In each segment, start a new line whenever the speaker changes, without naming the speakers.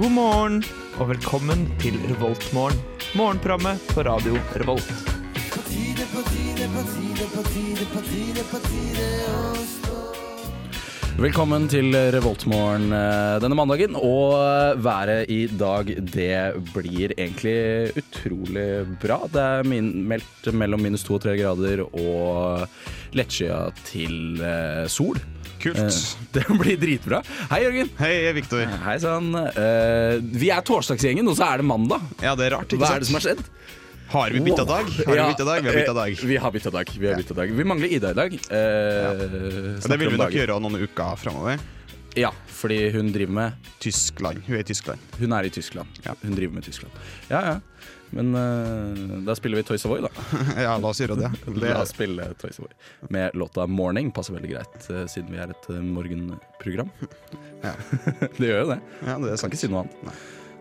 God morgen og velkommen til Revoltmorgen. Morgenprogrammet på radio Revolt.
Velkommen til Revoltmorgen eh, denne mandagen. Og eh, været i dag, det blir egentlig utrolig bra. Det er min, meldt mellom minus to og tre grader og lettskya til eh, sol.
Kult.
Eh, Det blir dritbra. Hei, Jørgen.
Hei, jeg er Victor.
Hei sann. Eh, Vi er torsdagsgjengen, og så er det mandag.
Ja, det er rart, ikke
Hva
sant?
er det som har skjedd?
Har vi bytta dag? Har
Ja,
vi bytta dag? Vi har bytta
eh,
dag.
Vi har bytta dag. Vi, har byttet dag. vi mangler Ida i dag. Eh,
Det vil
snakker om
vi nok
dagen.
gjøre noen uker framover.
Ja, fordi hun driver med
Tyskland. Hun er i Tyskland.
Hun er i Tyskland.
Ja.
Hun driver med Tyskland. Ja, ja. Men eh, da spiller vi Toys Avoy, da.
Ja, la oss gjøre det. det
La oss spille Toys Avoy med låta 'Morning'. Passer veldig greit, eh, siden vi er et eh, morgenprogram.
Ja.
det gjør jo det.
ja, det er
Kan
sant.
ikke si noe annet.
Nei.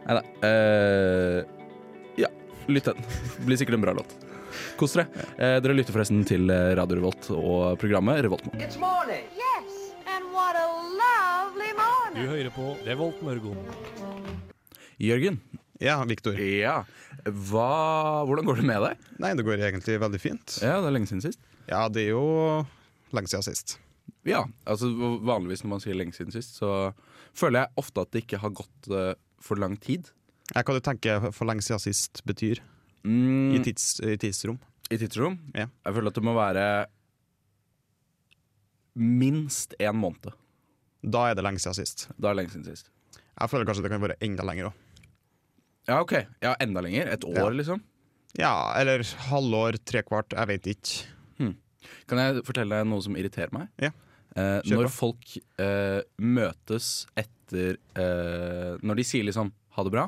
Neida. Eh, ja, lytt til den. Blir sikkert en bra låt. Kos dere. Eh, dere lytter forresten til eh, Radio Revolt og programmet Revoltmorgen.
It's morning.
Yes, and what a lovely
Du
morning.
hører på Revolt Mørgon.
Jørgen,
Ja, Victor.
ja. Hva, hvordan går det med deg?
Nei, det går egentlig veldig fint.
Ja, Det er lenge siden sist.
Ja, det er jo lenge siden sist.
Ja, altså vanligvis når man sier lenge siden sist, så føler jeg ofte at det ikke har gått eh, for lang tid.
Jeg kan jo tenke for lenge siden sist betyr
Mm.
i, tids, i tidsrom.
I tidsrom.
Mm. Ja.
Jeg føler at det må være minst én måned.
Da er det lenge siden sist.
Da er det lenge siden sist.
Jeg føler kanskje det kan være enda lenger òg.
Ja, ok. Ja, Enda lenger. Et år,
Ja.
liksom.
Ja, eller halvår, trekvart, jeg vet ikke.
Kan jeg fortelle deg noe som irriterer meg?
Ja.
Eh,
Kjør på.
når folk eh, møtes etter eh, Når de sier liksom 'ha det bra',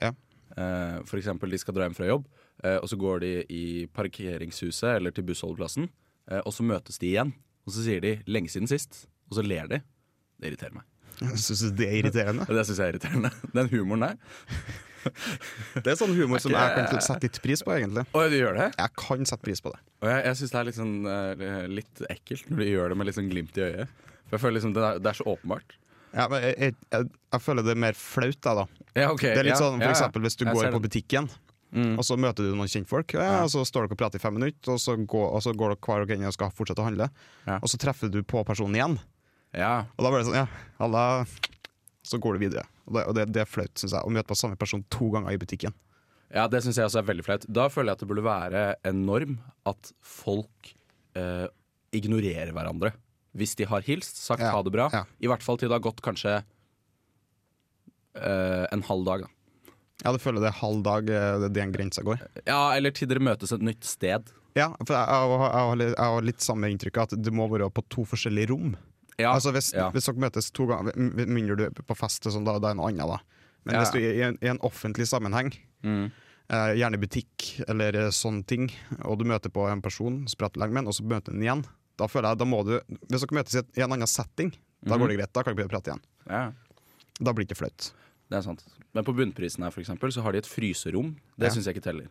Ja.
eh, for eksempel de skal dra hjem fra jobb, eh, og så går de i parkeringshuset eller til bussholdeplassen, eh, og så møtes de igjen. Og så sier de 'lenge siden sist', og så ler de. Det irriterer meg.
Syns du det er irriterende?
Det syns jeg er irriterende. Den humoren der.
Det er sånn humor som jeg kan sette litt pris på, egentlig.
Å, du gjør det?
Jeg kan sette pris på det.
Og jeg, jeg syns det er litt, sånn, eh, litt ekkelt når de gjør det med litt sånn glimt i øyet. For jeg føler liksom det er, det er så åpenbart.
Ja, men jeg, jeg, jeg, jeg føler det er mer flaut, jeg, da.
Ja, ok,
Det er
Eh, ja,
litt sånn, for
ja, ja.
eksempel, Hvis du
Jeg
går
ser
på
det. Mm.
butikken, og så møter du noen kjentfolk, ja, og så står dere og prater i fem minutter, og så går, og så går dere hver og en og skal fortsette å handle,
Ja.
og så treffer du på personen igjen,
Ja,
og da blir det sånn Ja, halla. Så går du videre. Og det, og det, det er flaut, syns jeg, å møte på samme person to ganger i butikken.
Ja, det syns jeg også er veldig flaut. Da føler jeg at det burde være en norm at folk eh, ignorerer hverandre. Hvis de har hilst, sagt
Ja,
ha det bra.
ja.
I hvert fall til det har gått kanskje eh, en halv dag. Da.
Ja, du føler det er halv dag, eh, det er den grensa går.
Ja, eller til dere møtes et nytt sted.
Ja, for jeg, jeg, har- jeg, har litt- jeg har litt samme inntrykk, at det må være på to forskjellige rom.
Ja,
Altså hvis,
ja.
hvis dere møtes to ganger m- m- Mindre du er på fest, og sånn, da, da er det noe annet. Da. Men
Ja. Mm.
hvis du er i en, i en offentlig sammenheng, eh, gjerne butikk eller eh, sånne ting, og du møter på en person, så prater du lenge med han, og så møter du han igjen Da føler jeg, da må du Hvis dere møtes i, et, i en annen setting,
Mm.
da går det greit. Da kan dere begynne å prate igjen.
ja,
Da blir det ikke flaut.
det er sant. Men på Bunnprisen her for eksempel, så har de et fryserom. Det
Ja.
syns jeg ikke teller.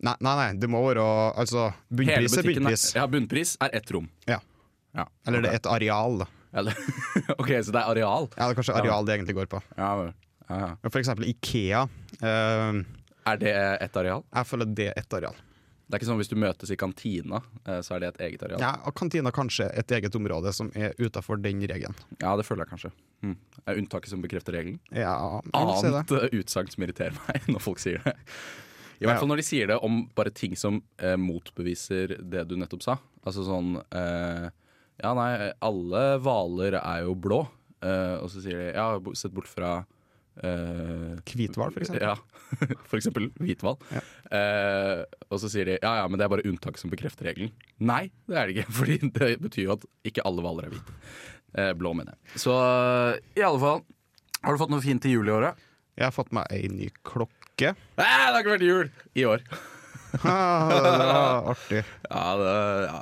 Nei, nei, nei, det må være
Hele
Altså, bunnpris er
butikken er,
bunnpris.
ja, bunnpris er ett rom.
Ja.
Ja,
Eller det er et areal. da.
Ja, det- ok, så det er areal.
Ja, det er kanskje areal det egentlig går på.
Ja, vel. ja, ja.
Men For eksempel Ikea. eh,
Er det et areal?
jeg føler det er et areal.
Det er ikke sånn hvis du møtes i kantina, eh, så er det et eget areal.
Ja, og kantina kanskje et eget område som er utafor den regelen.
Ja, det føler jeg kanskje. Mm. Er unntaket som bekrefter regelen?
Ja, jeg vil si det.
Annet eh, utsagn som irriterer meg når folk sier det. I hvert
Ja.
fall når de sier det om bare ting som eh, motbeviser det du nettopp sa. Altså sånn eh, Ja, nei, alle hvaler er jo blå. Eh, og så sier de ja, bo- sett bort fra eh,
Hvithval, for eksempel.
Ja, for eksempel hvithval. Eh, og så sier de ja ja, men det er bare unntak som bekrefter regelen. Nei, det er det ikke. Fordi det betyr jo at ikke alle hvaler er hvite. Eh, blå, mener jeg. Så i alle fall, har du fått noe fint til jul i året?
Jeg har fått meg ei ny klokke.
Nei, det har ikke vært jul i år.
Ha, det var artig.
Ja, det ja.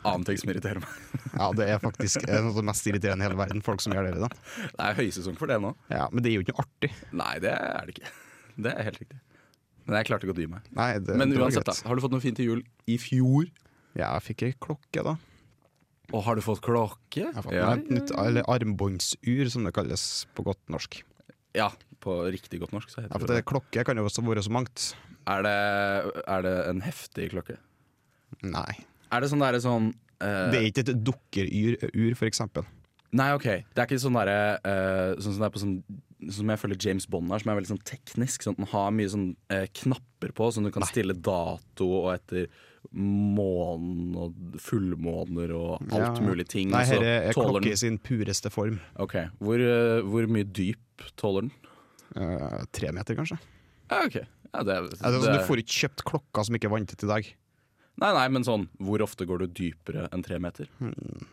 Annen ting som irriterer meg.
Ja, det er faktisk eh, noe av det mest irriterende i hele verden, folk som gjør det. da
Det er høysesong for det nå.
Ja, Men det er jo ikke noe artig.
Nei, det er det ikke. Det er helt riktig. Men jeg klarte ikke å dy meg.
Nei, det,
Men
det var
uansett, da.
greit.
Har du fått noe fint til jul i fjor?
Ja, jeg fikk ei klokke, da.
Og har du fått klokke?
Jeg har fått
Ja.
meg et nytt, eller armbåndsur, som det kalles på godt norsk.
Ja, på riktig godt norsk så
Ja,
heter
for
det
det, klokke kan jo også være så mangt.
Er det, er det en heftig klokke?
Nei.
Er det sånn derre sånn eh,
Det er ikke et dukkerur, ur, for eksempel.
Nei, OK. Det er ikke sånn derre eh, Sånn som det er på sånn som jeg føler James Bond er, som er veldig sånn teknisk. Sånn at den har mye sånn eh, knapper på, som du kan stille dato og etter månen og fullmåner og alt
Ja.
mulig ting.
Nei,
og så
her er
altså, tåler
klokke i
den-
sin pureste form.
Ok, hvor, eh, hvor mye dyp tåler den?
Eh, tre meter, kanskje.
Ja, ok. Ja, det, er-
Altså,
det-
Du får ikke kjøpt klokka som ikke er vanntett i dag.
Nei, nei, men sånn, hvor ofte går du dypere enn tre meter?
Hmm.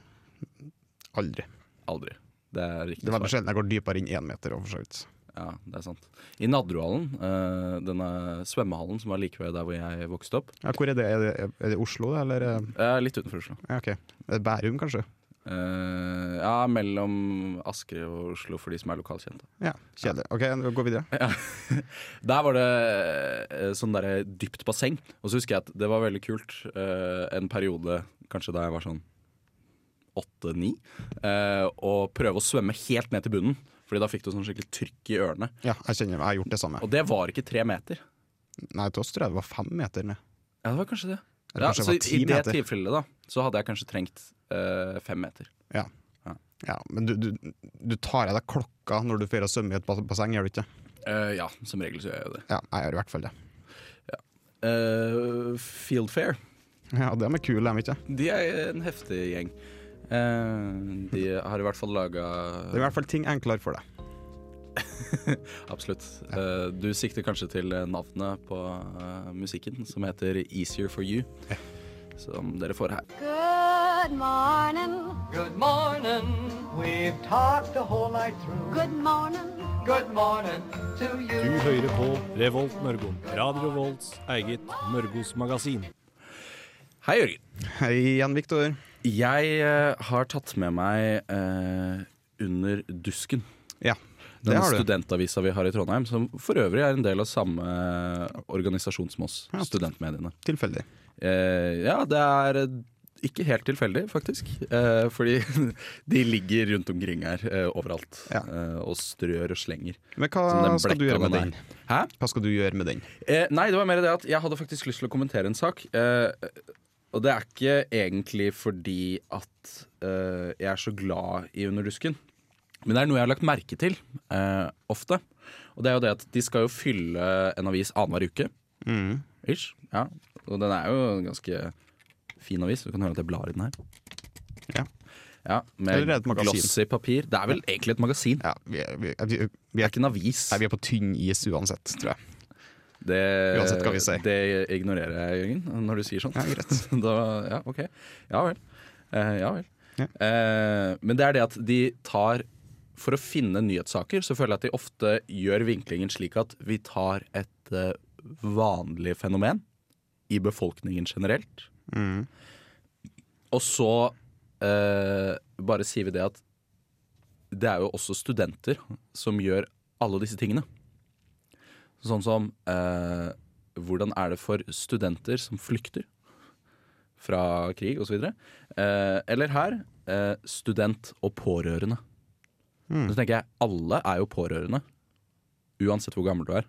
Aldri.
Aldri. Det er riktig
Det er veldig
svar.
sjelden jeg går dypere inn én meter. og for så vidt.
Ja, det er sant. I Nadderudhallen, eh, denne svømmehallen som var like ved der hvor jeg vokste opp,
Ja, hvor er det? Er det, er det Oslo, det, eller? eh,
eh, litt utenfor Oslo.
Ja, ok. Er det Bærum, kanskje?
Eh, ja, mellom Asker og Oslo for de som er lokalkjente.
Ja, Kjedelig. Ok, vi går videre.
Der var det eh, sånn derre dypt basseng, og så husker jeg at det var veldig kult eh, en periode, kanskje da jeg var sånn åtte-ni, eh, å prøve å svømme helt ned til bunnen. Fordi da fikk du sånn skikkelig trykk i ørene.
Ja, jeg kjenner, jeg har gjort det samme.
Og det var ikke tre meter.
Nei, til oss tror jeg det var fem meter ned.
Ja, det var kanskje det.
Eller
Ja,
kanskje
så
det var ti
I det
meter.
tilfellet da, så hadde jeg kanskje trengt eh, fem meter.
Ja, men du, du, du tar av deg klokka når du får svømme i et bas- basseng, gjør du ikke?
Eh, ja, som regel så gjør jeg jo det.
Ja, jeg gjør i hvert fall det.
Uh, Field Fair,
Ja, de er kule, de, ikke?
de er en heftig gjeng. Eh, de har i hvert fall laga
Det er i hvert fall ting enklere for deg.
Absolutt. Eh, du sikter kanskje til navnet på eh, musikken, som heter 'Easier for You'. Som dere får her.
Good morning.
Good morning. We've talked the whole night through.
Good morning.
Good morning to
Du
you.
hører på Revolt Mørgo. Radio Revolts eget Mørgos magasin.
Hei, Jørgen.
Hei igjen, Viktor.
Jeg eh, har tatt med meg eh, Under dusken.
Ja, det
Den
har du.
studentavisa vi har i Trondheim, som for øvrig er en del av samme organisasjon som oss,
Ja.
studentmediene.
Tilfeldig.
Eh, ja, det er eh, ikke helt tilfeldig, faktisk. Eh, fordi de ligger rundt omkring her eh, overalt
Ja.
eh, og strør og slenger.
Men
Som
hva
den
skal du
blekka
gjøre med
den
den?
er. Hæ?
Hva skal du gjøre med den?
Eh, nei, det var mer det at jeg hadde faktisk lyst til å kommentere en sak. Eh, og det er ikke egentlig fordi at eh, jeg er så glad i Underdusken. Men det er noe jeg har lagt merke til eh, ofte. Og det er jo det at de skal jo fylle en avis annenhver uke.
Mm.
Ish. Ja. Og den er jo en ganske fin avis. Du kan høre at jeg blar i den her.
Ja.
Ja, med
Eller er det et magasin?
glossy papir. Det er vel egentlig et magasin.
Ja, vi er, vi, er, vi, er, vi,
Det
er,
er ikke en avis.
nei, vi er på tynn is uansett, tror jeg.
Det,
Uansett hva vi sier.
Det ignorerer jeg, Jørgen, når du sier sånt.
Ja, greit.
da, ja, ok. Ja vel. Eh, ja vel.
Ja.
Eh, men det er det at de tar For å finne nyhetssaker så føler jeg at de ofte gjør vinklingen slik at vi tar et eh, vanlig fenomen i befolkningen generelt,
Mm.
og så eh, bare sier vi det at det er jo også studenter som gjør alle disse tingene. Sånn som eh, hvordan er det for studenter som flykter fra krig osv. Eh, eller her eh, student og pårørende. Så tenker jeg alle er jo pårørende, uansett hvor gammel du er.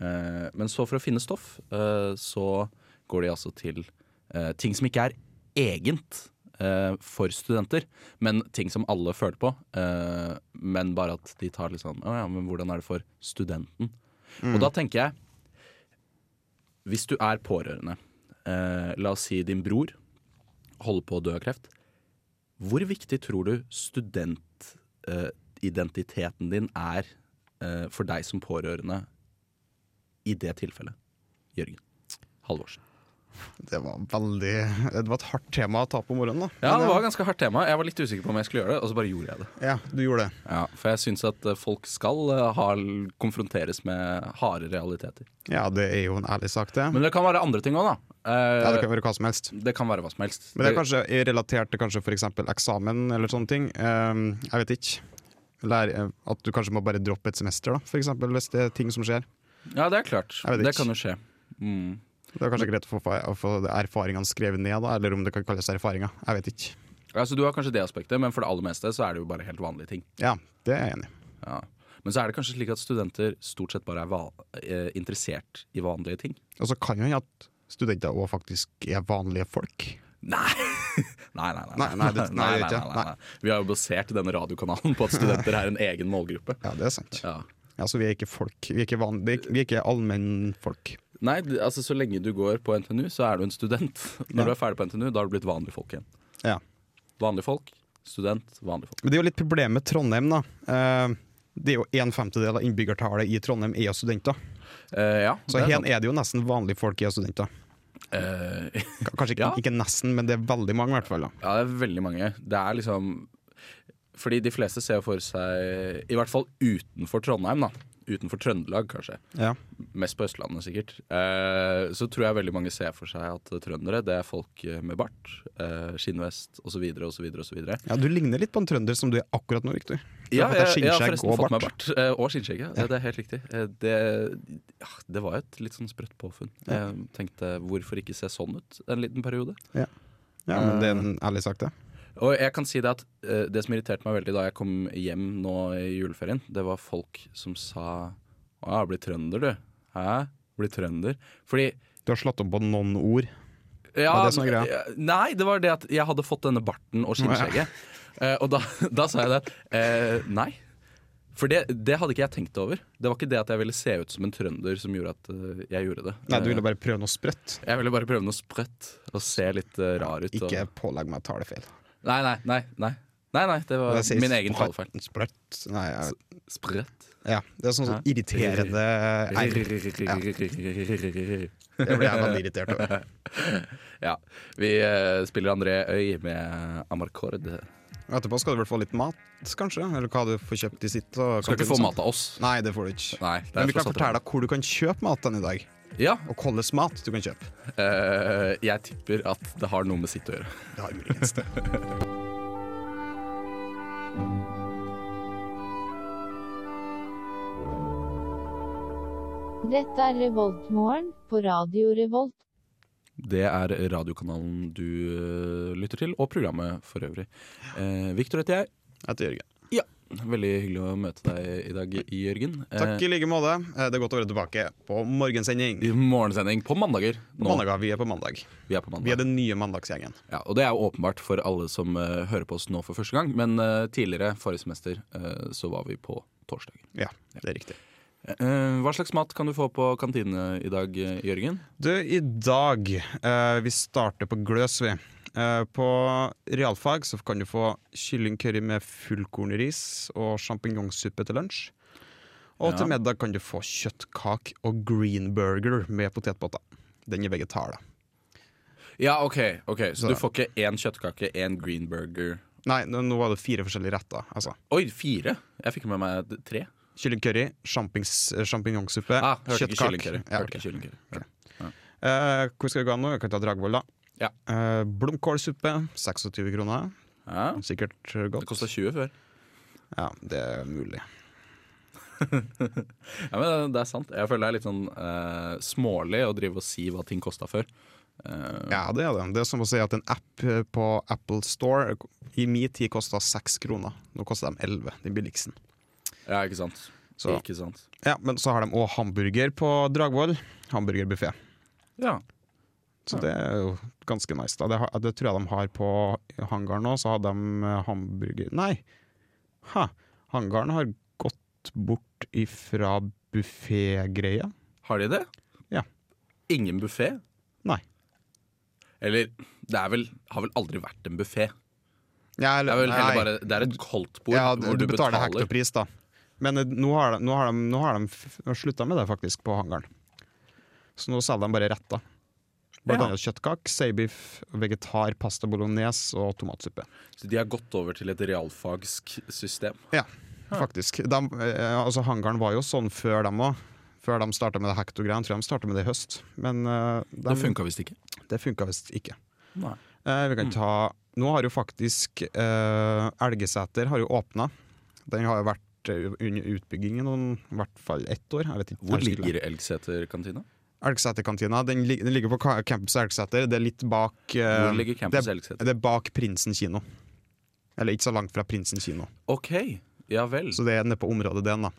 Eh, men så for å finne stoff, eh, så går de altså til eh, ting som ikke er egent eh, for studenter, men ting som alle føler på. Eh, men bare at de tar litt sånn Å ja, men hvordan er det for studenten? Og da tenker jeg Hvis du er pårørende eh, La oss si din bror holder på å dø av kreft Hvor viktig tror du studentidentiteten din er eh, For deg som pårørende I det tilfellet Jørgen Halvorsen
Det var veldig Det var et hardt tema å ta på morgenen, da.
Ja, det var et ganske hardt tema Jeg var litt usikker på om jeg skulle gjøre det Og så bare gjorde jeg det
Ja, du gjorde det.
ja, For jeg synes at eh, folk skal eh, ha, konfronteres med harde realiteter
Ja, det er jo en ærlig sak, det.
Men det kan være andre ting også da Eh,
ja, det kan være hva som helst.
Det kan være hva som helst.
Men det er kanskje i relatert til kanskje for eksempel eksamen eller sånne ting. Ehm, jeg vet ikke. Eller eh, at du kanskje må bare droppe et semester, da, for eksempel, hvis det er ting som skjer.
ja, det er klart.
Jeg vet
Det
ikke.
kan jo skje. Mm.
Det er kanskje greit å få, fa- å få erfaringene skrevet ned, da, eller om det kan kalles erfaringer. Jeg vet ikke.
Altså, du har kanskje det aspektet, men for det aller meste så er det jo bare helt vanlige ting.
Ja, det er jeg enig i.
Ja. Men så er det kanskje slik at studenter stort sett bare er va eh, interessert i vanlige ting.
Og så kan jo hende at studenter òg faktisk er vanlige folk.
Nei! Nei, nei, nei.
Nei, nei, det- nei, det er ikke. Nei.
Vi har jo basert denne radiokanalen på at studenter er en egen målgruppe.
Ja, det er sant.
Ja.
Altså, vi er ikke folk. Vi er ikke, van det er ikke- vi er ikke allmennfolk.
Nei, altså så lenge du går på NTNU, så er du en student. Når
Ja.
du er ferdig på NTNU, da har du blitt vanlige folk igjen.
Ja.
Vanlige folk, student, vanlige folk.
Men det er jo litt problemet med Trondheim, da. Eh, Det er jo en femtedel av innbyggertallet i Trondheim er jo studenter.
Eh, ja,
Så
det er
her
sant.
er det jo nesten vanlige folk er studenter.
Eh,
K- Kanskje ikke,
Ja.
ikke nesten, men det er veldig mange, i hvert fall. da.
Ja, det er veldig mange. Det er liksom Fordi de fleste ser for seg I hvert fall utenfor Trondheim, da. Utenfor Trøndelag, kanskje.
Ja.
Mest på Østlandet, sikkert. Eh, så tror jeg veldig mange ser for seg at trøndere det er folk eh, med bart, eh, skinnvest osv. osv. osv.
Ja, du ligner litt på en trønder som du er akkurat nå, Victor. Du
Ja,
har fått deg
jeg jeg har
skinnskjegg
forresten
og
fått meg
bart.
bart. eh, Og skinnskjegg, ja. Det er helt riktig. Eh, Det, ja, det var jo et litt sånn sprøtt påfunn. Jeg tenkte hvorfor ikke se sånn ut en liten periode?
Ja, men det er
Eh.
en ærlig sak, det.
Og jeg kan si Det at eh, det som irriterte meg veldig da jeg kom hjem nå i juleferien, det var folk som sa Å, jeg blir trønder, du. Hæ? Blir trønder? Fordi
Du har slått om på noen ord.
ja,
Var det som var greia?
eh, Nei, det var det at jeg hadde fått denne barten og skinnskjegget. Eh, og da, da sa jeg det. eh, nei. For det, det hadde ikke jeg tenkt over. Det var ikke det at jeg ville se ut som en trønder som gjorde at eh, jeg gjorde det.
Nei, du
Eh,
ville bare prøve noe sprøtt.
Jeg ville bare prøve noe sprøtt og se litt eh, rar ut.
Ikke
Og...
pålegg meg talefeil.
Nei, nei, nei, nei. Nei, nei, det var
Det sies
min egen
sprøtt-
talefeil.
Sprøtt Nei, jeg-
Sprøtt.
ja. Det er sånn sånn irriterende Nei, det
Ja,
blir jeg veldig irritert over.
Vi eh, spiller André Øy med Amarcord.
Etterpå skal du vel få litt mat, kanskje? Eller hva du får kjøpt i sitt. og
Skal ikke
kanskje
få
noe sånt.
mat av oss.
liksom- Nei, det får du ikke.
Nei, det er
Men vi
tross
kan
alt-
fortelle deg hvor du kan kjøpe mat den i dag.
Ja,
Og hvilken mat du kan kjøpe.
eh, jeg tipper at det har noe med sitt å gjøre.
Det har muligens det.
Dette er Revoltmorgen på Radio Revolt.
Det er radiokanalen du eh, lytter til, og programmet for øvrig. Eh, Victor heter jeg.
Etter Jørgen.
Veldig hyggelig å møte deg i dag, Jørgen. Eh,
Takk i like måte. Eh, Det er godt å være tilbake på morgensending.
I morgensending på mandager.
På
Nå.
mandager, vi er på mandag.
Vi er på mandag.
Vi er den nye mandagsgjengen.
Ja, og Det er jo åpenbart for alle som eh, hører på oss nå for første gang, men eh, tidligere, forrige semester, eh, så var vi på torsdager.
Ja, det er riktig.
Eh, hva slags mat kan du få på kantine i dag, eh, Jørgen?
Du, i dag eh, Vi starter på gløs, vi. Eh, på realfag så kan du få kyllingcurry med fullkornris og sjampinjongsuppe til lunsj. Og
Ja.
til middag kan du få kjøttkake og greenburger med potetbåter. Den er vegetar, da.
Ja, ok, ok, Så
Så-
du får ikke én kjøttkake, én green burger
Nei, nå nå var det fire forskjellige retter. Altså.
Oi, fire! Jeg fikk med meg d- tre.
Kyllingcurry, sjampings- eh, sjampinjongsuppe,
Ah, hørte ikke
kjøttkake.
kyllingcurry.
Ja,
Hørte
ok.
ikke kyllingcurry.
Eh, hvor skal vi gå nå? Jeg kan ta Dragvoll, da.
Ja.
Eh, blomkålsuppe, 26 kroner.
Ja.
Sikkert eh,
Det
godt.
kosta 20 før.
Ja, det er mulig.
Ja, men eh, Det er sant. Jeg føler det er litt sånn eh, smålig å drive og si hva ting kosta før. Eh,
Ja, det er det. Det er som å si at en app eh, på Apple Store eh, i min tid kosta seks kroner. Nå koster de elleve, den billigsten.
ja, ikke sant.
Så.
Ikke sant.
Ja, men så har de òg hamburger på Dragvoll. Hamburgerbuffé.
Ja.
Så det er jo ganske nice. da Det, har, det tror jeg de har på hangaren òg. Så har de eh, hamburger Nei! Ha. Hangaren har gått bort ifra buffégreia.
Har de det?
Ja.
Ingen buffé?
Nei.
Eller det er vel, har vel aldri vært en buffé. Det
Ja, eller-
er vel
nei.
heller bare det er et koldtbord
ja,
hvor
du, betaler hektopris, da. Men eh, nå har de, nå har de, nå har de f- slutta med det, faktisk, på hangaren. Så nå selger de bare retter. Blant
Ja.
annet kjøttkake, seibiff, vegetar, pasta bolognese og tomatsuppe.
Så de har gått over til et realfagsk system.
Ja, faktisk. De, eh, altså, hangaren var jo sånn før dem òg. Før de starta med det hektogreiene. Tror jeg de starta med det i høst. Men eh,
Det
dem-
funka visst ikke.
det funka visst ikke.
Nei.
Eh, vi
Mm.
kan ta Nå har jo faktisk eh, Elgeseter har jo åpna. Den har jo vært eh, under utbygging i noen, i hvert fall ett år. Jeg vet ikke.
Hvor ligger Elgseter-kantina?
Elgeseterkantina? Den, lig- den ligger på ka- campus Elgeseter. Det er litt bak eh,
Hvor ligger campus
det,
Elgseter?
det er bak Prinsen kino. Eller ikke så langt fra Prinsen kino.
OK, ja vel.
Så det er nede på området den, da.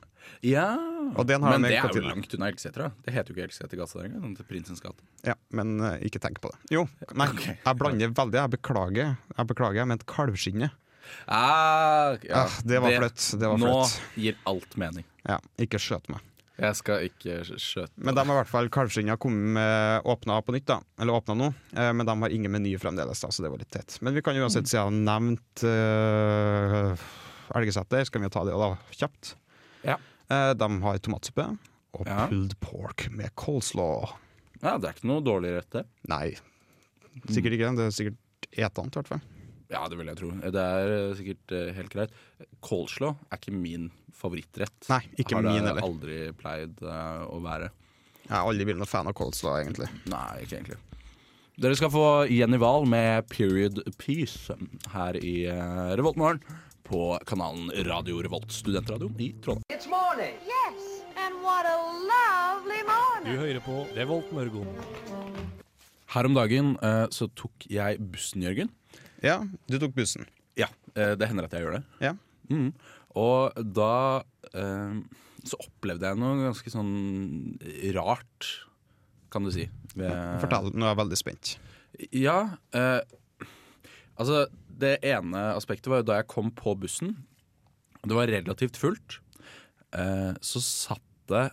Ja.
Og den har
Men
de
det er jo
egentlig til.
langt unna Elgesetra. Det heter jo ikke Elgesetergata der engang. Det heter Prinsens gate.
Ja, men eh, ikke tenk på det. Jo, nei,
Ok.
jeg blander veldig. Jeg beklager. Jeg beklager, jeg mente kalvskinnet.
Ah, ja.
Ah, det var flaut. Det var
Nå
flaut.
gir alt mening.
Ja, ikke skjøt meg.
Jeg skal ikke skjøte
Men de har i hvert fall kalvskinnet kommet med åpna på nytt, da. Eller åpna nå. Eh, Men de har ingen meny fremdeles, da, så det var litt teit. Men vi kan jo uansett si jeg har nevnt uh, Elgeseter, så kan vi jo ta det da kjapt.
Ja.
Eh, de har tomatsuppe og
Ja.
pulled pork med coleslaw.
Ja, det er ikke noe dårlig rett, det.
Nei, sikkert ikke. Det er sikkert etant, i hvert fall.
Ja, det vil jeg tro. Det er eh, sikkert eh, helt greit. Coleslaw er ikke min favorittrett.
Nei, ikke
Har det
min heller.
aldri pleid eh, å være.
Jeg har aldri vært noen fan av coleslaw, egentlig.
Nei, ikke egentlig. Dere skal få Jenny Wahl med 'Period Peace' her i eh, Revoltmorgen på kanalen Radio Revolt, studentradioen i Trondheim.
It's morning.
Yes, and what a lovely morning.
Du hører på Revolt Mørgon.
Her om dagen eh, så tok jeg bussen, Jørgen.
Ja, du tok bussen.
Ja, eh, det hender at jeg gjør det.
Ja.
Mm. Og da eh, så opplevde jeg noe ganske sånn rart, kan du si. ved-
Fortell, nå er jeg veldig spent.
Ja. Eh, altså, det ene aspektet var jo da jeg kom på bussen. og Det var relativt fullt. Eh, så satt det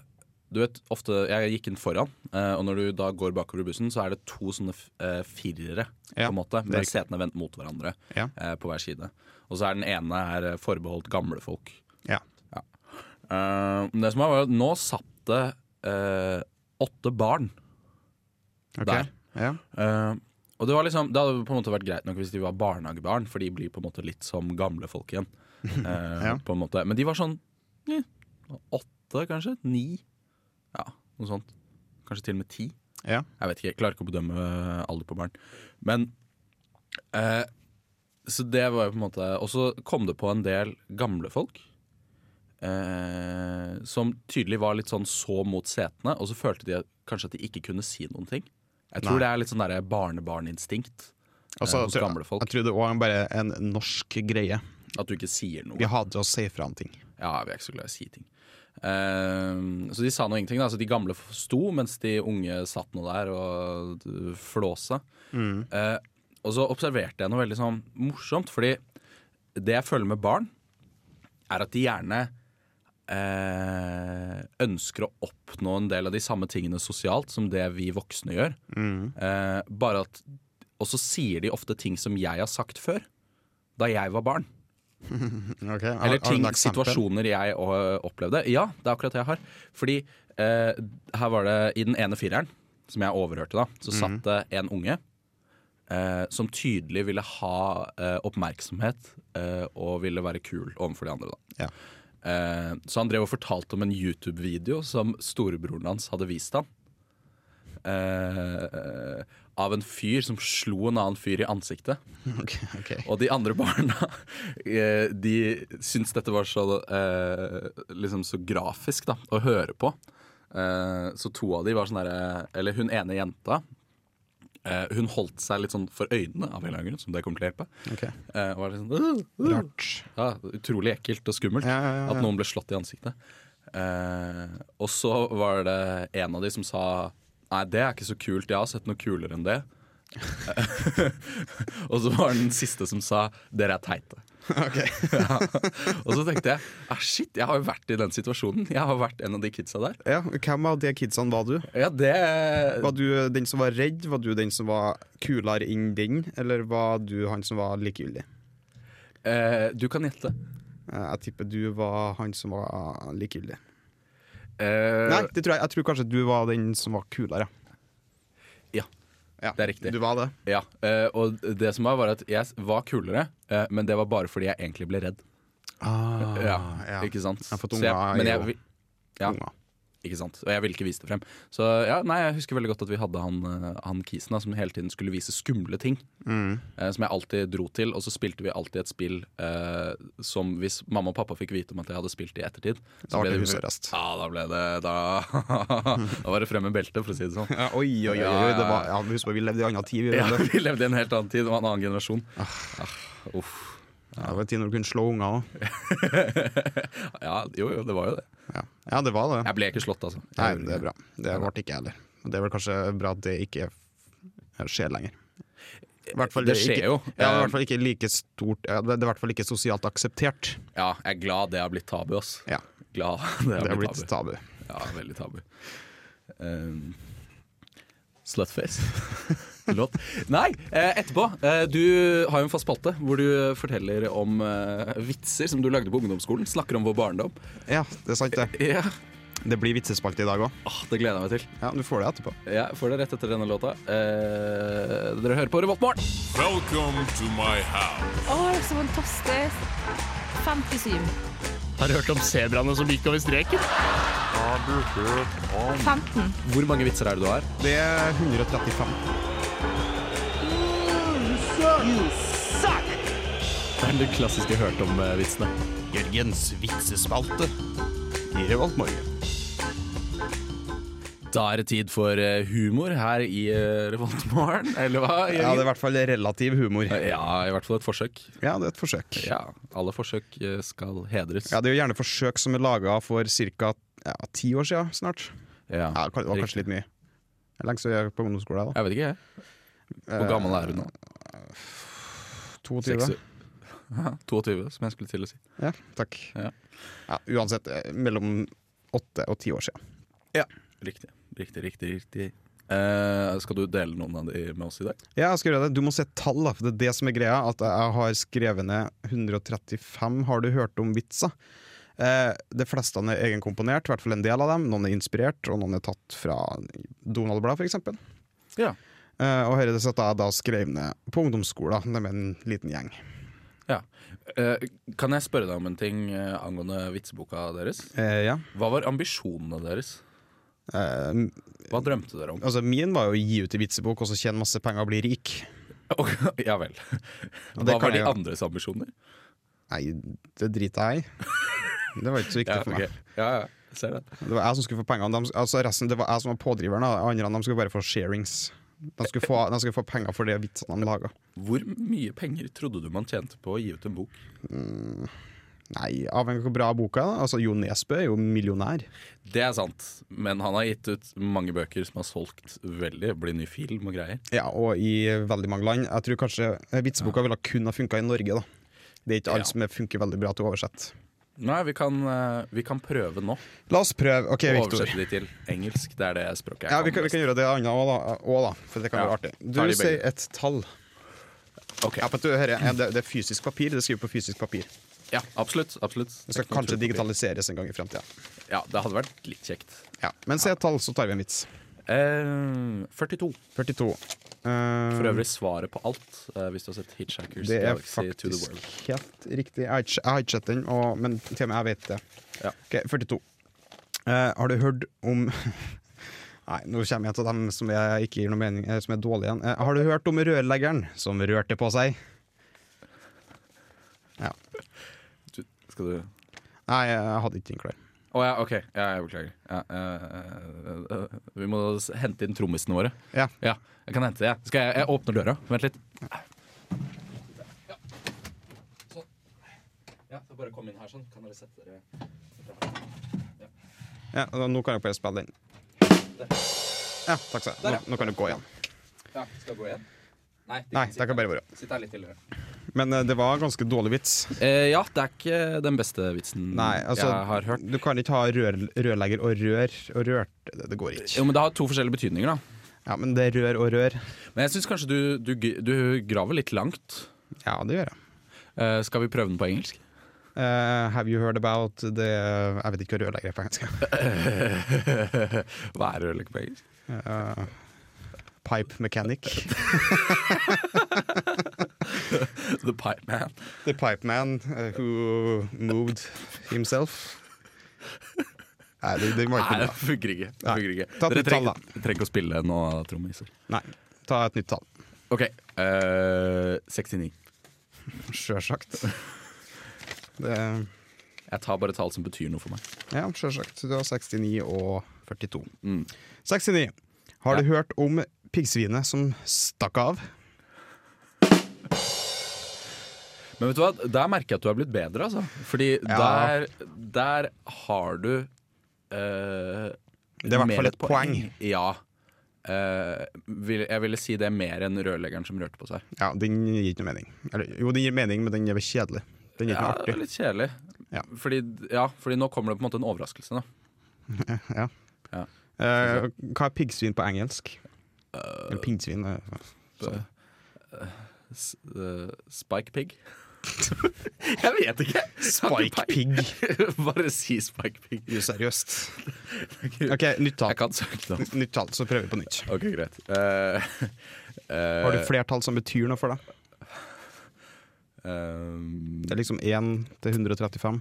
Du vet, ofte Jeg gikk inn foran, eh, og når du da går bakover i bussen, så er det to sånne f- eh, firere,
Ja,
på en måte,
det er
med setene vendt mot hverandre
Ja.
eh, på hver side. Og så er den ene er eh, forbeholdt gamle folk.
Ja.
Eh, men det som var, var at nå satt det eh, åtte barn
ok.
Der.
Ja.
Eh, og det var liksom Det hadde på en måte vært greit nok hvis de var barnehagebarn, for de blir på en måte litt som gamle folk igjen. Eh,
Ja.
På en måte Men de var sånn eh, åtte, kanskje? Ni? Ja, noe sånt. Kanskje til og med ti.
Ja.
Jeg vet ikke, jeg klarer ikke å bedømme eh, alder på barn. Men eh, Så det var jo på en måte Og så kom det på en del gamle folk. Eh, som tydelig var litt sånn så mot setene, og så følte de at- kanskje at de ikke kunne si noen ting. Jeg tror
Nei.
det er litt sånn derre barnebarninstinkt
Og så
eh, hos
tror jeg-
gamle folk.
Jeg tror det òg er bare en norsk greie.
At du ikke sier noe.
Vi hater å si fra om ting.
Ja, vi er ikke så glad i å si ting. Ehm, så de sa noe ingenting. Da. Så de gamle f- sto, mens de unge satt nå der og uh, flåsa. Eh, og så observerte jeg noe veldig sånn morsomt, fordi det jeg føler med barn, er at de gjerne eh, ønsker å oppnå en del av de samme tingene sosialt som det vi voksne gjør. Eh, bare at Og så sier de ofte ting som jeg har sagt før, da jeg var barn.
Okay. har-
Eller
har du
ting,
noe eksempel?
situasjoner jeg ø, opplevde. Ja, det er akkurat det jeg har. Fordi eh, her var det i den ene fireren, som jeg overhørte, da, så
Mhm.
satt det en unge eh, som tydelig ville ha eh, oppmerksomhet eh, og ville være kul overfor de andre. da.
Ja.
Eh, så han drev og fortalte om en YouTube-video som storebroren hans hadde vist han. Eh, av en fyr som slo en annen fyr i ansiktet.
Ok, ok.
Og de andre barna eh, De syntes dette var så eh, Liksom så grafisk da Å høre på eh, Så to av de var sånn der Eller hun ene jenta eh, Hun holdt seg litt sånn for øynene Av en eller annen grunn, som det kommer til å hjelpe
Ok.
eh, Og var litt sånn «Åh, åh».
Rart.
ja, Utrolig ekkelt og skummelt
Ja, ja, ja, ja.
At noen ble slått i ansiktet eh, Og så var det en av de som sa Nei, det er ikke så kult Jeg har sett noe kulere enn det og så var den siste som sa 'dere er teite'. ja. Og så tenkte jeg ah, shit, jeg har jo vært i den situasjonen. Jeg har vært en av de kidsa der.
Ja, hvem av de kidsene var du?
Ja, det
Var du den som var redd? Var du den som var kulere enn den? Eller var du han som var likegyldig?
eh, Du kan gjette.
Eh, Jeg tipper du var han som var likegyldig.
Eh,
Nei, det tror jeg. jeg tror kanskje du var den som var kulere.
Ja,
Ja,
det er riktig.
Du var det.
ja. Eh, og det som var, var at jeg var kulere, eh, men det var bare fordi jeg egentlig ble redd. ja,
Ah, ja.
Ah, Ikke sant?
Jeg har fått
Så jeg-
unger
men
i
jeg
år.
vil- Ja,
Unger.
ikke sant? Og jeg ville ikke vise det frem. Så ja, nei, Jeg husker veldig godt at vi hadde han, eh, han kisen da, som hele tiden skulle vise skumle ting.
Mm,
eh, som jeg alltid dro til. Og så spilte vi alltid et spill eh, som hvis mamma og pappa fikk vite om at jeg hadde spilt i ettertid
Da
så
ble det
vi-
husarrest.
Ja, da ble det Da, da var det frem med beltet, for å si det sånn.
Ja, oi, oi, oi. oi. Det var, ja, husk på, vi levde i annen tid. Vi
Ja,
levde.
vi levde i en helt annen tid, det var en annen generasjon. Ah, uff.
Det var en tid når du kunne slå unger òg.
Ja, jo, jo, det var jo det.
Ja. ja, det var det.
Jeg ble ikke slått, altså.
Nei, det er bra. Det ble ikke jeg heller. Og Det er vel kanskje bra at det ikke skjer lenger. I hvert fall
Det skjer
ikke,
jo.
Ja, i hvert fall ikke like stort ja, Det er i hvert fall ikke sosialt akseptert.
Ja, jeg er glad det har blitt tabu, ass.
Ja,
Glad det
det
har
har
blitt
blitt
tabu.
tabu.
Ja, veldig tabu. Um, slutface. Låt. Nei, eh, etterpå. eh, Du har jo en fast spalte hvor du forteller om eh, vitser som du lagde på ungdomsskolen. Snakker om vår barndom.
Ja, det er sant, det.
Ja,
Det blir vitsespalte i dag òg.
Åh, Ah, Det gleder jeg meg til.
Ja, du får det etterpå.
Jeg får det rett etter denne låta. Eh, dere hører på Revoltmorgen.
Welcome to my house.
Å, det er så fantastisk! 57.
Har hørt om sebraene som gikk over streken?
15.
Hvor mange vitser er det du har?
Det er 135.
Det er den klassiske hørt eh, om-vitsene.
Jørgens vitsespalte i Revolt Morgen.
Da er det tid for eh, humor her i eh, Revoltmorgen, eller hva?
Ja, det er
Jørgen? Eh,
i hvert fall relativ humor.
ja, i hvert fall et forsøk.
Ja, det er et forsøk.
Ja, alle forsøk eh, skal hedres.
Ja, det er jo gjerne forsøk som er laga for ca. Ja, ti år siden snart.
Ja,
Ja, det var
riktig.
kanskje litt mye. Det er Lenge siden jeg er på ungdomsskolen. da
Jeg vet ikke, jeg.
Eh,
Hvor gammel er du nå?
22.
22, som jeg skulle til å si.
Ja, takk.
Ja.
Ja, uansett, eh, mellom åtte og ti år siden.
Riktig, riktig, riktig. riktig. Eh, skal du dele noen av de med oss i dag?
Ja, jeg skal gjøre det. Du må se tall, da, for det er det som er greia. At jeg har skrevet ned 135 har du hørt om vitser. Eh, de fleste er egenkomponert, i hvert fall en del av dem. Noen er inspirert, og noen er tatt fra Donald-blad, for eksempel.
Ja.
Eh, og her er det satt jeg da skrev ned på ungdomsskolen det med en liten gjeng.
ja. Eh, kan jeg spørre deg om en ting eh, angående vitseboka deres?
Eh, ja.
Hva var ambisjonene deres?
Eh, m-
Hva drømte dere om?
altså min var jo å gi ut en vitsebok og så tjene masse penger og bli rik.
Og, ja vel. Hva
Og det
var
kan
de
jeg jo.
andres ambisjoner?
Nei, det driter jeg i. Det var ikke så viktig
Ja,
for meg.
ok. ja, ja. Ser det.
Det var jeg som skulle få pengene. De, altså resten, det var jeg som var pådriveren. da. De andre de skulle bare få sharings. De skulle få, de skulle få penger for de vitsene de laga.
Hvor mye penger trodde du man tjente på å gi ut en bok?
Nei, avhengig av hvor bra boka er. da. Altså, Jo Nesbø er jo millionær.
Det er sant, men han har gitt ut mange bøker som har solgt veldig. Blir ny film og greier.
Ja, Og i veldig mange land. Jeg tror kanskje eh, vitseboka ville kun ha funka i Norge, da. Det er ikke
Ja.
alle som funker veldig bra til å oversette.
Nei, vi kan, eh, vi kan prøve nå.
La oss prøve. OK,
å
Viktor.
oversette de til engelsk. Det er det språket jeg
Ja, vi kan, vi
best.
kan gjøre det annet òg, da, også da. For det kan
Ja.
være artig. Du
Ta de begge.
sier et tall.
Ok.
Ja, men du, her, er- det, det er fysisk papir. Det skriver på fysisk papir.
Ja, absolutt. absolutt.
Det skal kanskje digitaliseres en gang i fremtida.
Ja, det hadde vært litt kjekt.
Ja. Men si et tall, så tar vi en vits.
Eh, 42.
42. Eh,
For øvrig svaret på alt, eh, hvis du har sett Hitchhiker's
det er
Galaxy to the
faktisk
World.
helt riktig. Jeg har ikke- jeg har ikke sett den, og- men til og med jeg vet det.
Ja.
Ok, 42. Eh, har du hørt om Nei, nå kommer jeg til dem som jeg ikke gir noe mening eh, Som er dårlige igjen. Eh, har du hørt om rørleggeren som rørte på seg? Ja.
Du, skal du
Nei, jeg hadde ikke den klar.
Å ja, ok. Ja, jeg beklager. Ja, eh, eh, eh, vi må s- hente inn trommisene våre.
Ja.
Ja, jeg kan hente det. jeg. Skal jeg, jeg åpner døra? Vent litt. Ja, så bare kom inn her sånn. Kan dere sette dere
ja og nå kan dere bare spille den. Ja, takk skal du ha. Nå, nå kan du gå igjen.
Ja, skal gå igjen? Nei,
Nei, det kan bare være.
sitte her litt tidligere.
Men eh, det var ganske dårlig vits.
Eh, ja, det er ikke den beste vitsen
Nei, altså,
jeg har hørt.
Du kan ikke ha rør, rørlegger og rør og rørt. Det, det går ikke.
Jo, men Det har to forskjellige betydninger. da
Ja, Men det er rør og rør.
Men jeg syns kanskje du, du, g- du graver litt langt.
Ja, det gjør jeg.
Eh, skal vi prøve den på engelsk?
Eh, have you heard about the Jeg vet ikke hva rørlegger er på engelsk.
Hva er rørlegger på engelsk?
Eh, pipe mechanic.
The Pipe Man.
The pipe man eh, who moved himself. Nei, det, det var ikke
Nei,
noe
det funker ikke. Det
Nei.
funker ikke.
Ta et
Dere
nytt tall,
trenger, trenger ikke å spille nå, trommiser.
Nei. Ta et nytt tall.
OK. eh, 69.
Sjølsagt. Det
Jeg tar bare tall som betyr noe for meg.
Ja, sjølsagt. Du har 69 og 42.
Mm.
69. Har du hørt om piggsvinet som stakk av?
Men vet du hva, der merker jeg at du er blitt bedre, altså. Fordi
Ja.
der, der har du eh,
Det er i hvert
mer
fall et poeng.
Ja. Eh, vil, jeg ville si det mer enn rørleggeren som rørte på seg.
Ja, Den gir ikke noe mening. Eller, jo, den gir mening, men den er vel kjedelig. Den gir
Ja,
ikke
det
noe
var litt kjedelig.
Ja.
Fordi, ja, fordi nå kommer det på en måte en overraskelse. Da.
artig. Ja.
Ja.
Eh, hva er piggsvin på engelsk? Eller pinnsvin? eh, sånn.
S eh, spike pig? jeg vet ikke!
Spike pig.
Bare si spike pig.
Jo, seriøst. OK, nytt tall.
Jeg kan søke det.
Nytt- Nytt tall, så prøver vi på nytt.
Ok, greit. Eh, eh,
Har du flere tall som betyr noe for deg?
ehm,
Det er liksom 1 til 135.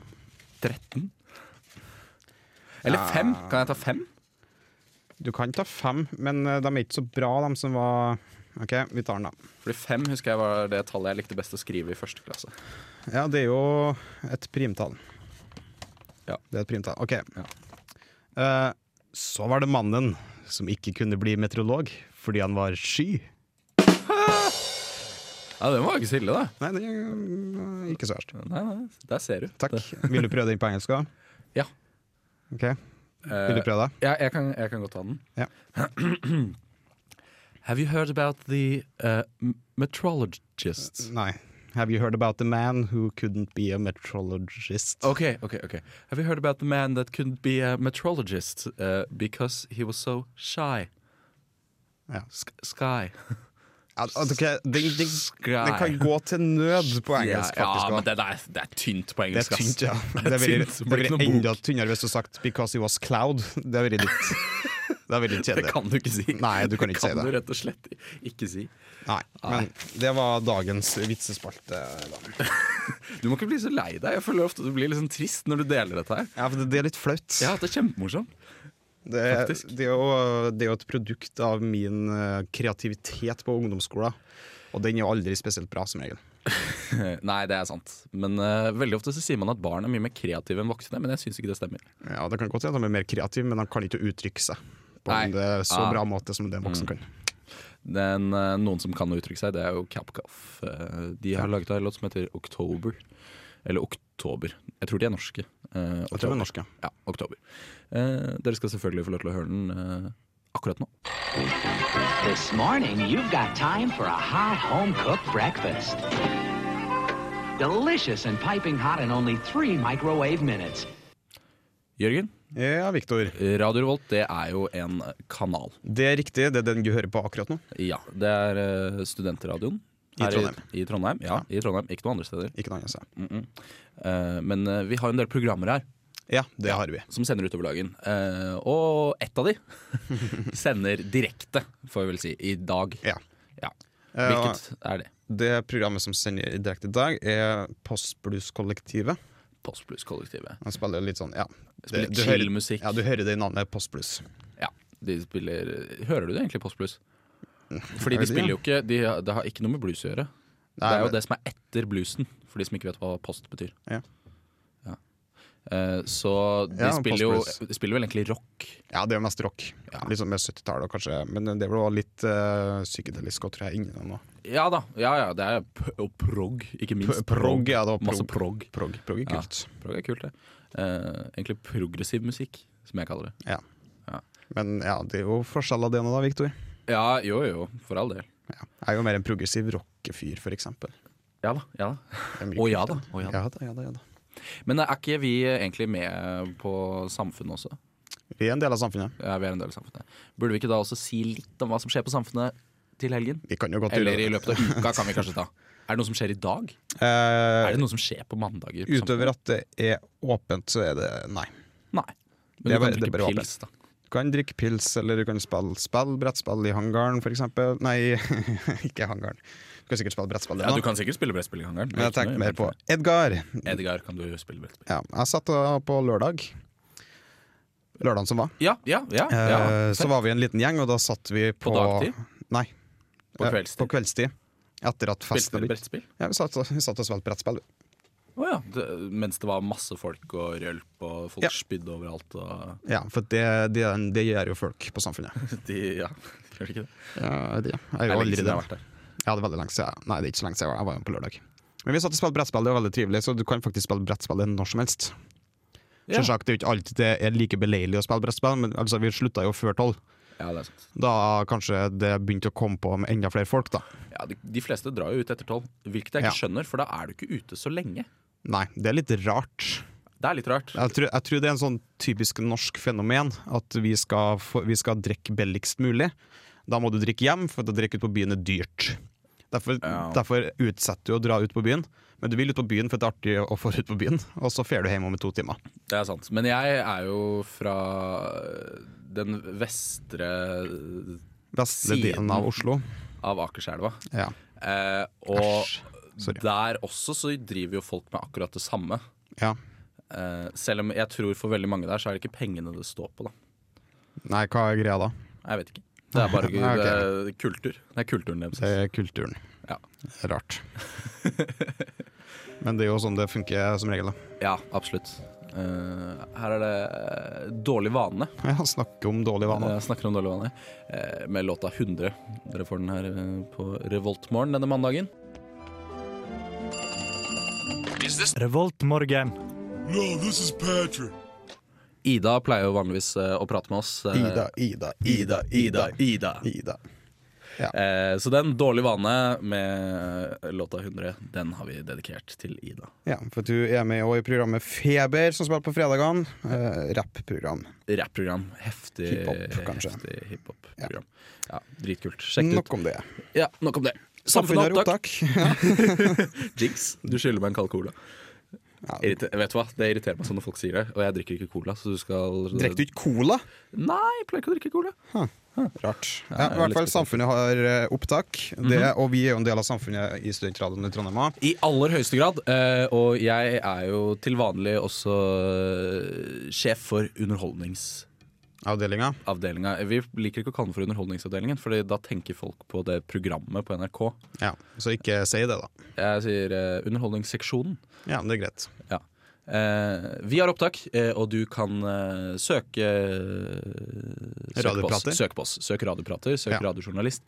13? Eller fem? Kan jeg ta fem?
Du kan ta fem, men eh, de er ikke så bra, de som var OK, vi tar den, da.
Fordi fem husker jeg var det tallet jeg likte best å skrive i første klasse.
Ja, det er jo et primtall.
Ja.
Det er et primtall. OK. Eh, så var det mannen som ikke kunne bli meteorolog fordi han var sky.
Ja, Den var ikke så ille, da.
Nei, det er eh, ikke så verst.
Nei, nei, Der ser du.
Takk. Vil du prøve den på engelsk òg?
Ja.
OK.
Eh.
Vil du prøve det?
Ja, jeg kan, jeg kan godt ta den.
Ja.
Have you heard about the uh, m- metrologists?
Nei. Have you heard about the man who couldn't be a meteorologist?
Okay, okay, okay. Have you heard about the man that couldn't be a metrologist uh, because he was so shy?
Ja.
Sk sky.
Ja, altså, ok, den, den,
Sky.
den kan gå til nød på engelsk,
ja,
faktisk.
ja, men
også.
det, det, er, det er tynt på
det er
engelsk. ass.
tynt, ja.
Det
Det
er
ville
tynt.
det
Det blir ikke
ville
noe
enda tynnere hvis du hadde sagt 'because he was cloud'. Det ville litt Det er veldig
Det
kjedelig.
kan du ikke si.
Nei, du kan ikke si
kan du
det.
rett og slett i- ikke si.
Nei, men det var dagens vitsespalte. da.
Du må ikke bli så lei deg. Jeg føler ofte du blir litt sånn trist når du deler dette her.
Ja, for det, det er litt flaut.
Jeg har hatt det kjempemorsomt.
det, er-
faktisk.
det, er jo, det er jo et produkt av min eh, kreativitet på ungdomsskolen. Og den er jo aldri spesielt bra, som regel.
Nei, det er sant. Men eh, veldig ofte så sier man at barn er mye mer kreative enn voksne, men jeg syns ikke det stemmer.
Ja, Det kan godt hende de er mer kreative, men de kan ikke uttrykke seg på
Nei.
en eh, så
Ah.
bra måte som det en voksen kan.
Den, eh, noen som kan uttrykke seg, det er jo Capcoff. Eh, de har laget en låt som heter Oktober. Eller Oktober. Jeg tror de er norske. Eh,
Jeg tror de er norske.
Ja, Oktober. Eh, dere skal selvfølgelig få lov til å høre den eh, akkurat nå.
This morning, you've got time for a hot home cooked breakfast. Delicious and piping hot in only three microwave minutes.
Jørgen,
Ja, Viktor.
Radio Revolt det er jo en kanal.
Det er riktig, det er den du hører på akkurat nå.
Ja, Det er eh, studentradioen.
I
her
Trondheim.
I, Trondheim, ja, i Trondheim, Ikke noen andre steder.
Ikke noe annet. sa jeg.
Eh, men eh, vi har en del programmer her
Ja, det har vi.
som sender utover dagen. Eh, og ett av de sender direkte, får vi vel si, i dag.
Ja.
Ja.
Eh,
Hvilket er det?
Det programmet som sender i direkte i dag, er Postblues-kollektivet.
Postblues-kollektivet.
Han spiller litt sånn, ja.
Spiller
Det- du hører-
chill musikk.
Ja, du hører det i navnet Postblues.
Ja, de spiller Hører du det egentlig, Postblues? Fordi
jeg
de
vet ikke.
spiller jo ikke de, har- Det har ikke noe med blues å gjøre.
Nei,
det er jo
men-
det som er etter bluesen, for de som ikke vet hva post betyr.
Ja.
Ja. Eh, så de
Ja,
spiller jo
postblues.
de spiller vel egentlig rock.
Ja, det er jo mest rock. Litt sånn med 70-tallet og kanskje, men det er vel også litt eh, psykedelisk og tror jeg inni den nå.
Ja da. Ja ja, det er p og prog, ikke minst.
P- prog, ja, det var
Masse
prog.
prog.
Prog, prog er kult.
Ja, prog er kult, det. Eh, egentlig progressiv musikk, som jeg kaller det.
Ja.
Ja.
Men ja, det er jo forskjell av det nå da, Viktor.
Ja, jo jo, for all del.
Ja. Jeg er jo mer en progressiv rockefyr, for eksempel.
Ja da. ja
Det er mye
da Å ja
kult,
da. Å, ja. da.
Ja da, ja da, ja da.
Men er ikke vi egentlig med på samfunnet også?
Vi er en del av samfunnet.
Ja, vi er en del av samfunnet. Burde vi ikke da også si litt om hva som skjer på samfunnet til helgen?
Vi kan jo godt
Eller i
gjøre det.
løpet av uka, kan vi kanskje ta. Er det noe som skjer i dag?
Eh,
Er det noe som skjer på mandager? på
Utover at det er åpent, så er det nei.
samfunnet? Nei. Men
Det er
du
bare-
kan
det er
drikke
bare
pils, da.
Du kan drikke pils, eller du kan spille spill, brettspill i hangaren f.eks. Nei, ikke i hangaren. Du kan sikkert spille brettspill.
Ja,
nå.
du kan sikkert spille brettspill i gangeren.
Men jeg tenkte mer på Edgar.
Edgar, kan du spille brettspill?
Ja, jeg satt og- på lørdag. Lørdagen som var.
Ja, ja, ja. ja.
Eh, så var vi en liten gjeng, og da satt vi på
På dagtid?
Nei.
På
Eh,
kveldstid?
På kveldstid. Etter at festen
Spilte
hadde
dere
begynt.
brettspill?
Ja, vi satt, vi satt og spilte brettspill.
Å ja. Det, mens det var masse folk og rølp og folk
Ja.
spydde overalt og
Ja, for det, det, det gjør jo folk på samfunnet.
de, Ja, gjør det ikke det?
Ja, det,
Det
jeg er jo
er
aldri
lenge siden jeg har vært
det.
der.
Ja, det er veldig lenge siden. Nei, det er ikke så lenge siden jeg var Jeg var jo på lørdag. Men vi satt og spilte brettspill, det var veldig trivelig, så du kan faktisk spille brettspill når som helst.
Ja.
Selvsagt, det er jo ikke alltid det er like beleilig å spille brettspill, men altså, vi slutta jo før tolv.
Ja, det er sant.
Da kanskje det begynte å komme på med enda flere folk, da.
Ja, de, de fleste drar jo ut etter tolv, hvilket jeg ikke skjønner, for da er du ikke ute så lenge.
Nei, det er litt rart.
Det er litt rart.
Jeg tror, jeg tror det er en sånn typisk norsk fenomen at vi skal, få- vi skal drikke billigst mulig. Da må du drikke hjem, for å drikke ut på byen er dyrt. Derfor,
Ja.
derfor utsetter du å dra ut på byen, men du vil ut på byen for det er artig å få ut på byen, og så fer du hjem om to timer.
Det er sant. Men jeg er jo fra øh, den vestre
Vestre
Siden.
delen av Oslo.
av Akerselva.
Ja.
Eh, og
Æsj. Sorry.
der også så driver jo folk med akkurat det samme.
ja.
Eh, selv om jeg tror for veldig mange der så er det ikke pengene det står på, da.
Nei, hva er greia da?
Jeg vet ikke. Det er bare eh,
Nei, ok.
det er kultur. Det er kulturen deres.
Det er kulturen.
Ja.
Rart. men det er jo sånn det funker som regel, da.
Ja, absolutt. Eh, her er det eh, dårlig vane.
Ja, snakke om dårlig vane.
Jeg snakker om dårlig vane. Eh, med låta 100. Dere får den her eh, på Revoltmorgen denne mandagen.
Revoltmorgen.
No, this is Patrick.
Ida pleier jo vanligvis eh, å prate med oss. eh,
Ida, Ida, Ida, Ida, Ida.
Eh, så den dårlige vane med eh, låta 100, den har vi dedikert til Ida.
Ja, for du er med også i programmet Feber, som spiller på fredagene. Eh, Rappprogram.
Rapprogram. Heftig
Hiphop, kanskje.
heftig hiphop-program. Ja. dritkult. Sjekk det ut.
Nok om det.
Ja, nok om det. Samfunnet har opptak. Jinx, du skylder meg en kald cola.
Ja.
Irriter vet du hva? Det irriterer meg sånn når folk sier det, og jeg drikker ikke cola. Så du skal
Drikker du ikke cola?
Nei, jeg pleier ikke å drikke cola.
Rart. Ja, I
litt
hvert fall,
spesielt. Mhm.
samfunnet har eh, opptak, det, og vi er jo en del av samfunnet i Studentradioen i Trondheim. også.
I aller høyeste grad. eh, Og jeg er jo til vanlig også eh, sjef for underholdningsavdelinga.
Avdelinga.
Vi liker ikke å kalle den for Underholdningsavdelingen, Fordi da tenker folk på det programmet på NRK.
Ja, så ikke si det, da.
Jeg sier eh, Underholdningsseksjonen.
Ja, men det er greit.
Ja. Eh, vi har opptak, eh, og du kan eh, søke eh, søke på, oss.
Radioprater.
søk på oss. Søk radioprater, søk
Ja.
radiojournalist.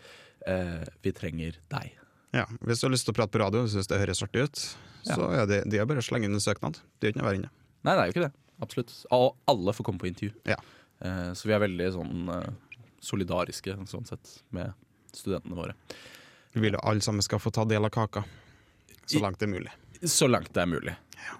Eh, vi trenger deg.
Ja, Hvis du har lyst til å prate på radio og syns det høres artig ut, så er det, det er bare å slenge inn en søknad. Det er ikke noe å være inne.
Nei, det er jo ikke det. Absolutt. Og alle får komme på intervju.
Ja.
Eh, Så vi er veldig sånn eh, solidariske sånn sett med studentene våre.
Vi vil jo alle sammen skal få ta del av kaka. Så
I-
langt det er mulig.
Så langt det er mulig.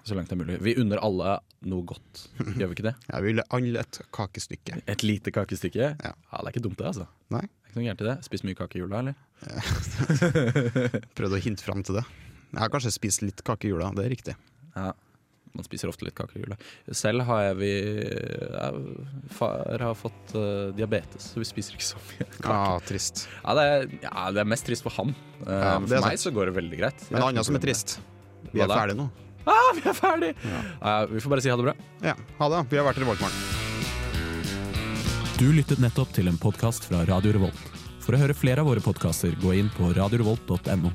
Så langt det er mulig. Vi unner alle noe godt, gjør vi ikke det?
Ja, vi vil alle et kakestykke.
Et lite kakestykke?
Ja.
det er ikke dumt det, altså.
Nei.
Det er ikke noe gærent i det. Spist mye kake i jula, eller?
Prøvde å hinte fram til det. Jeg har kanskje spist litt kake i jula, det er riktig.
Ja. Man spiser ofte litt kake i jula. Selv har jeg vi ja, Far har fått eh, diabetes, så vi spiser ikke så mye kake.
Ah, trist.
Ja, det er, ja, det er mest trist for han. Eh,
Ja,
men
det er
for meg så går det veldig greit.
Men
Jeg
det
har
andre som
ikke
er
problemer.
trist. Vi er
Hva da?
ferdige nå.
Ah, vi er ferdig! Eh, vi får bare si ha det bra.
Ja, ha det. Vi har vært i Revoltmorgen.
Du lyttet nettopp til en podkast fra Radio Revolt. For å høre flere av våre podkaster, gå inn på radiorevolt.no.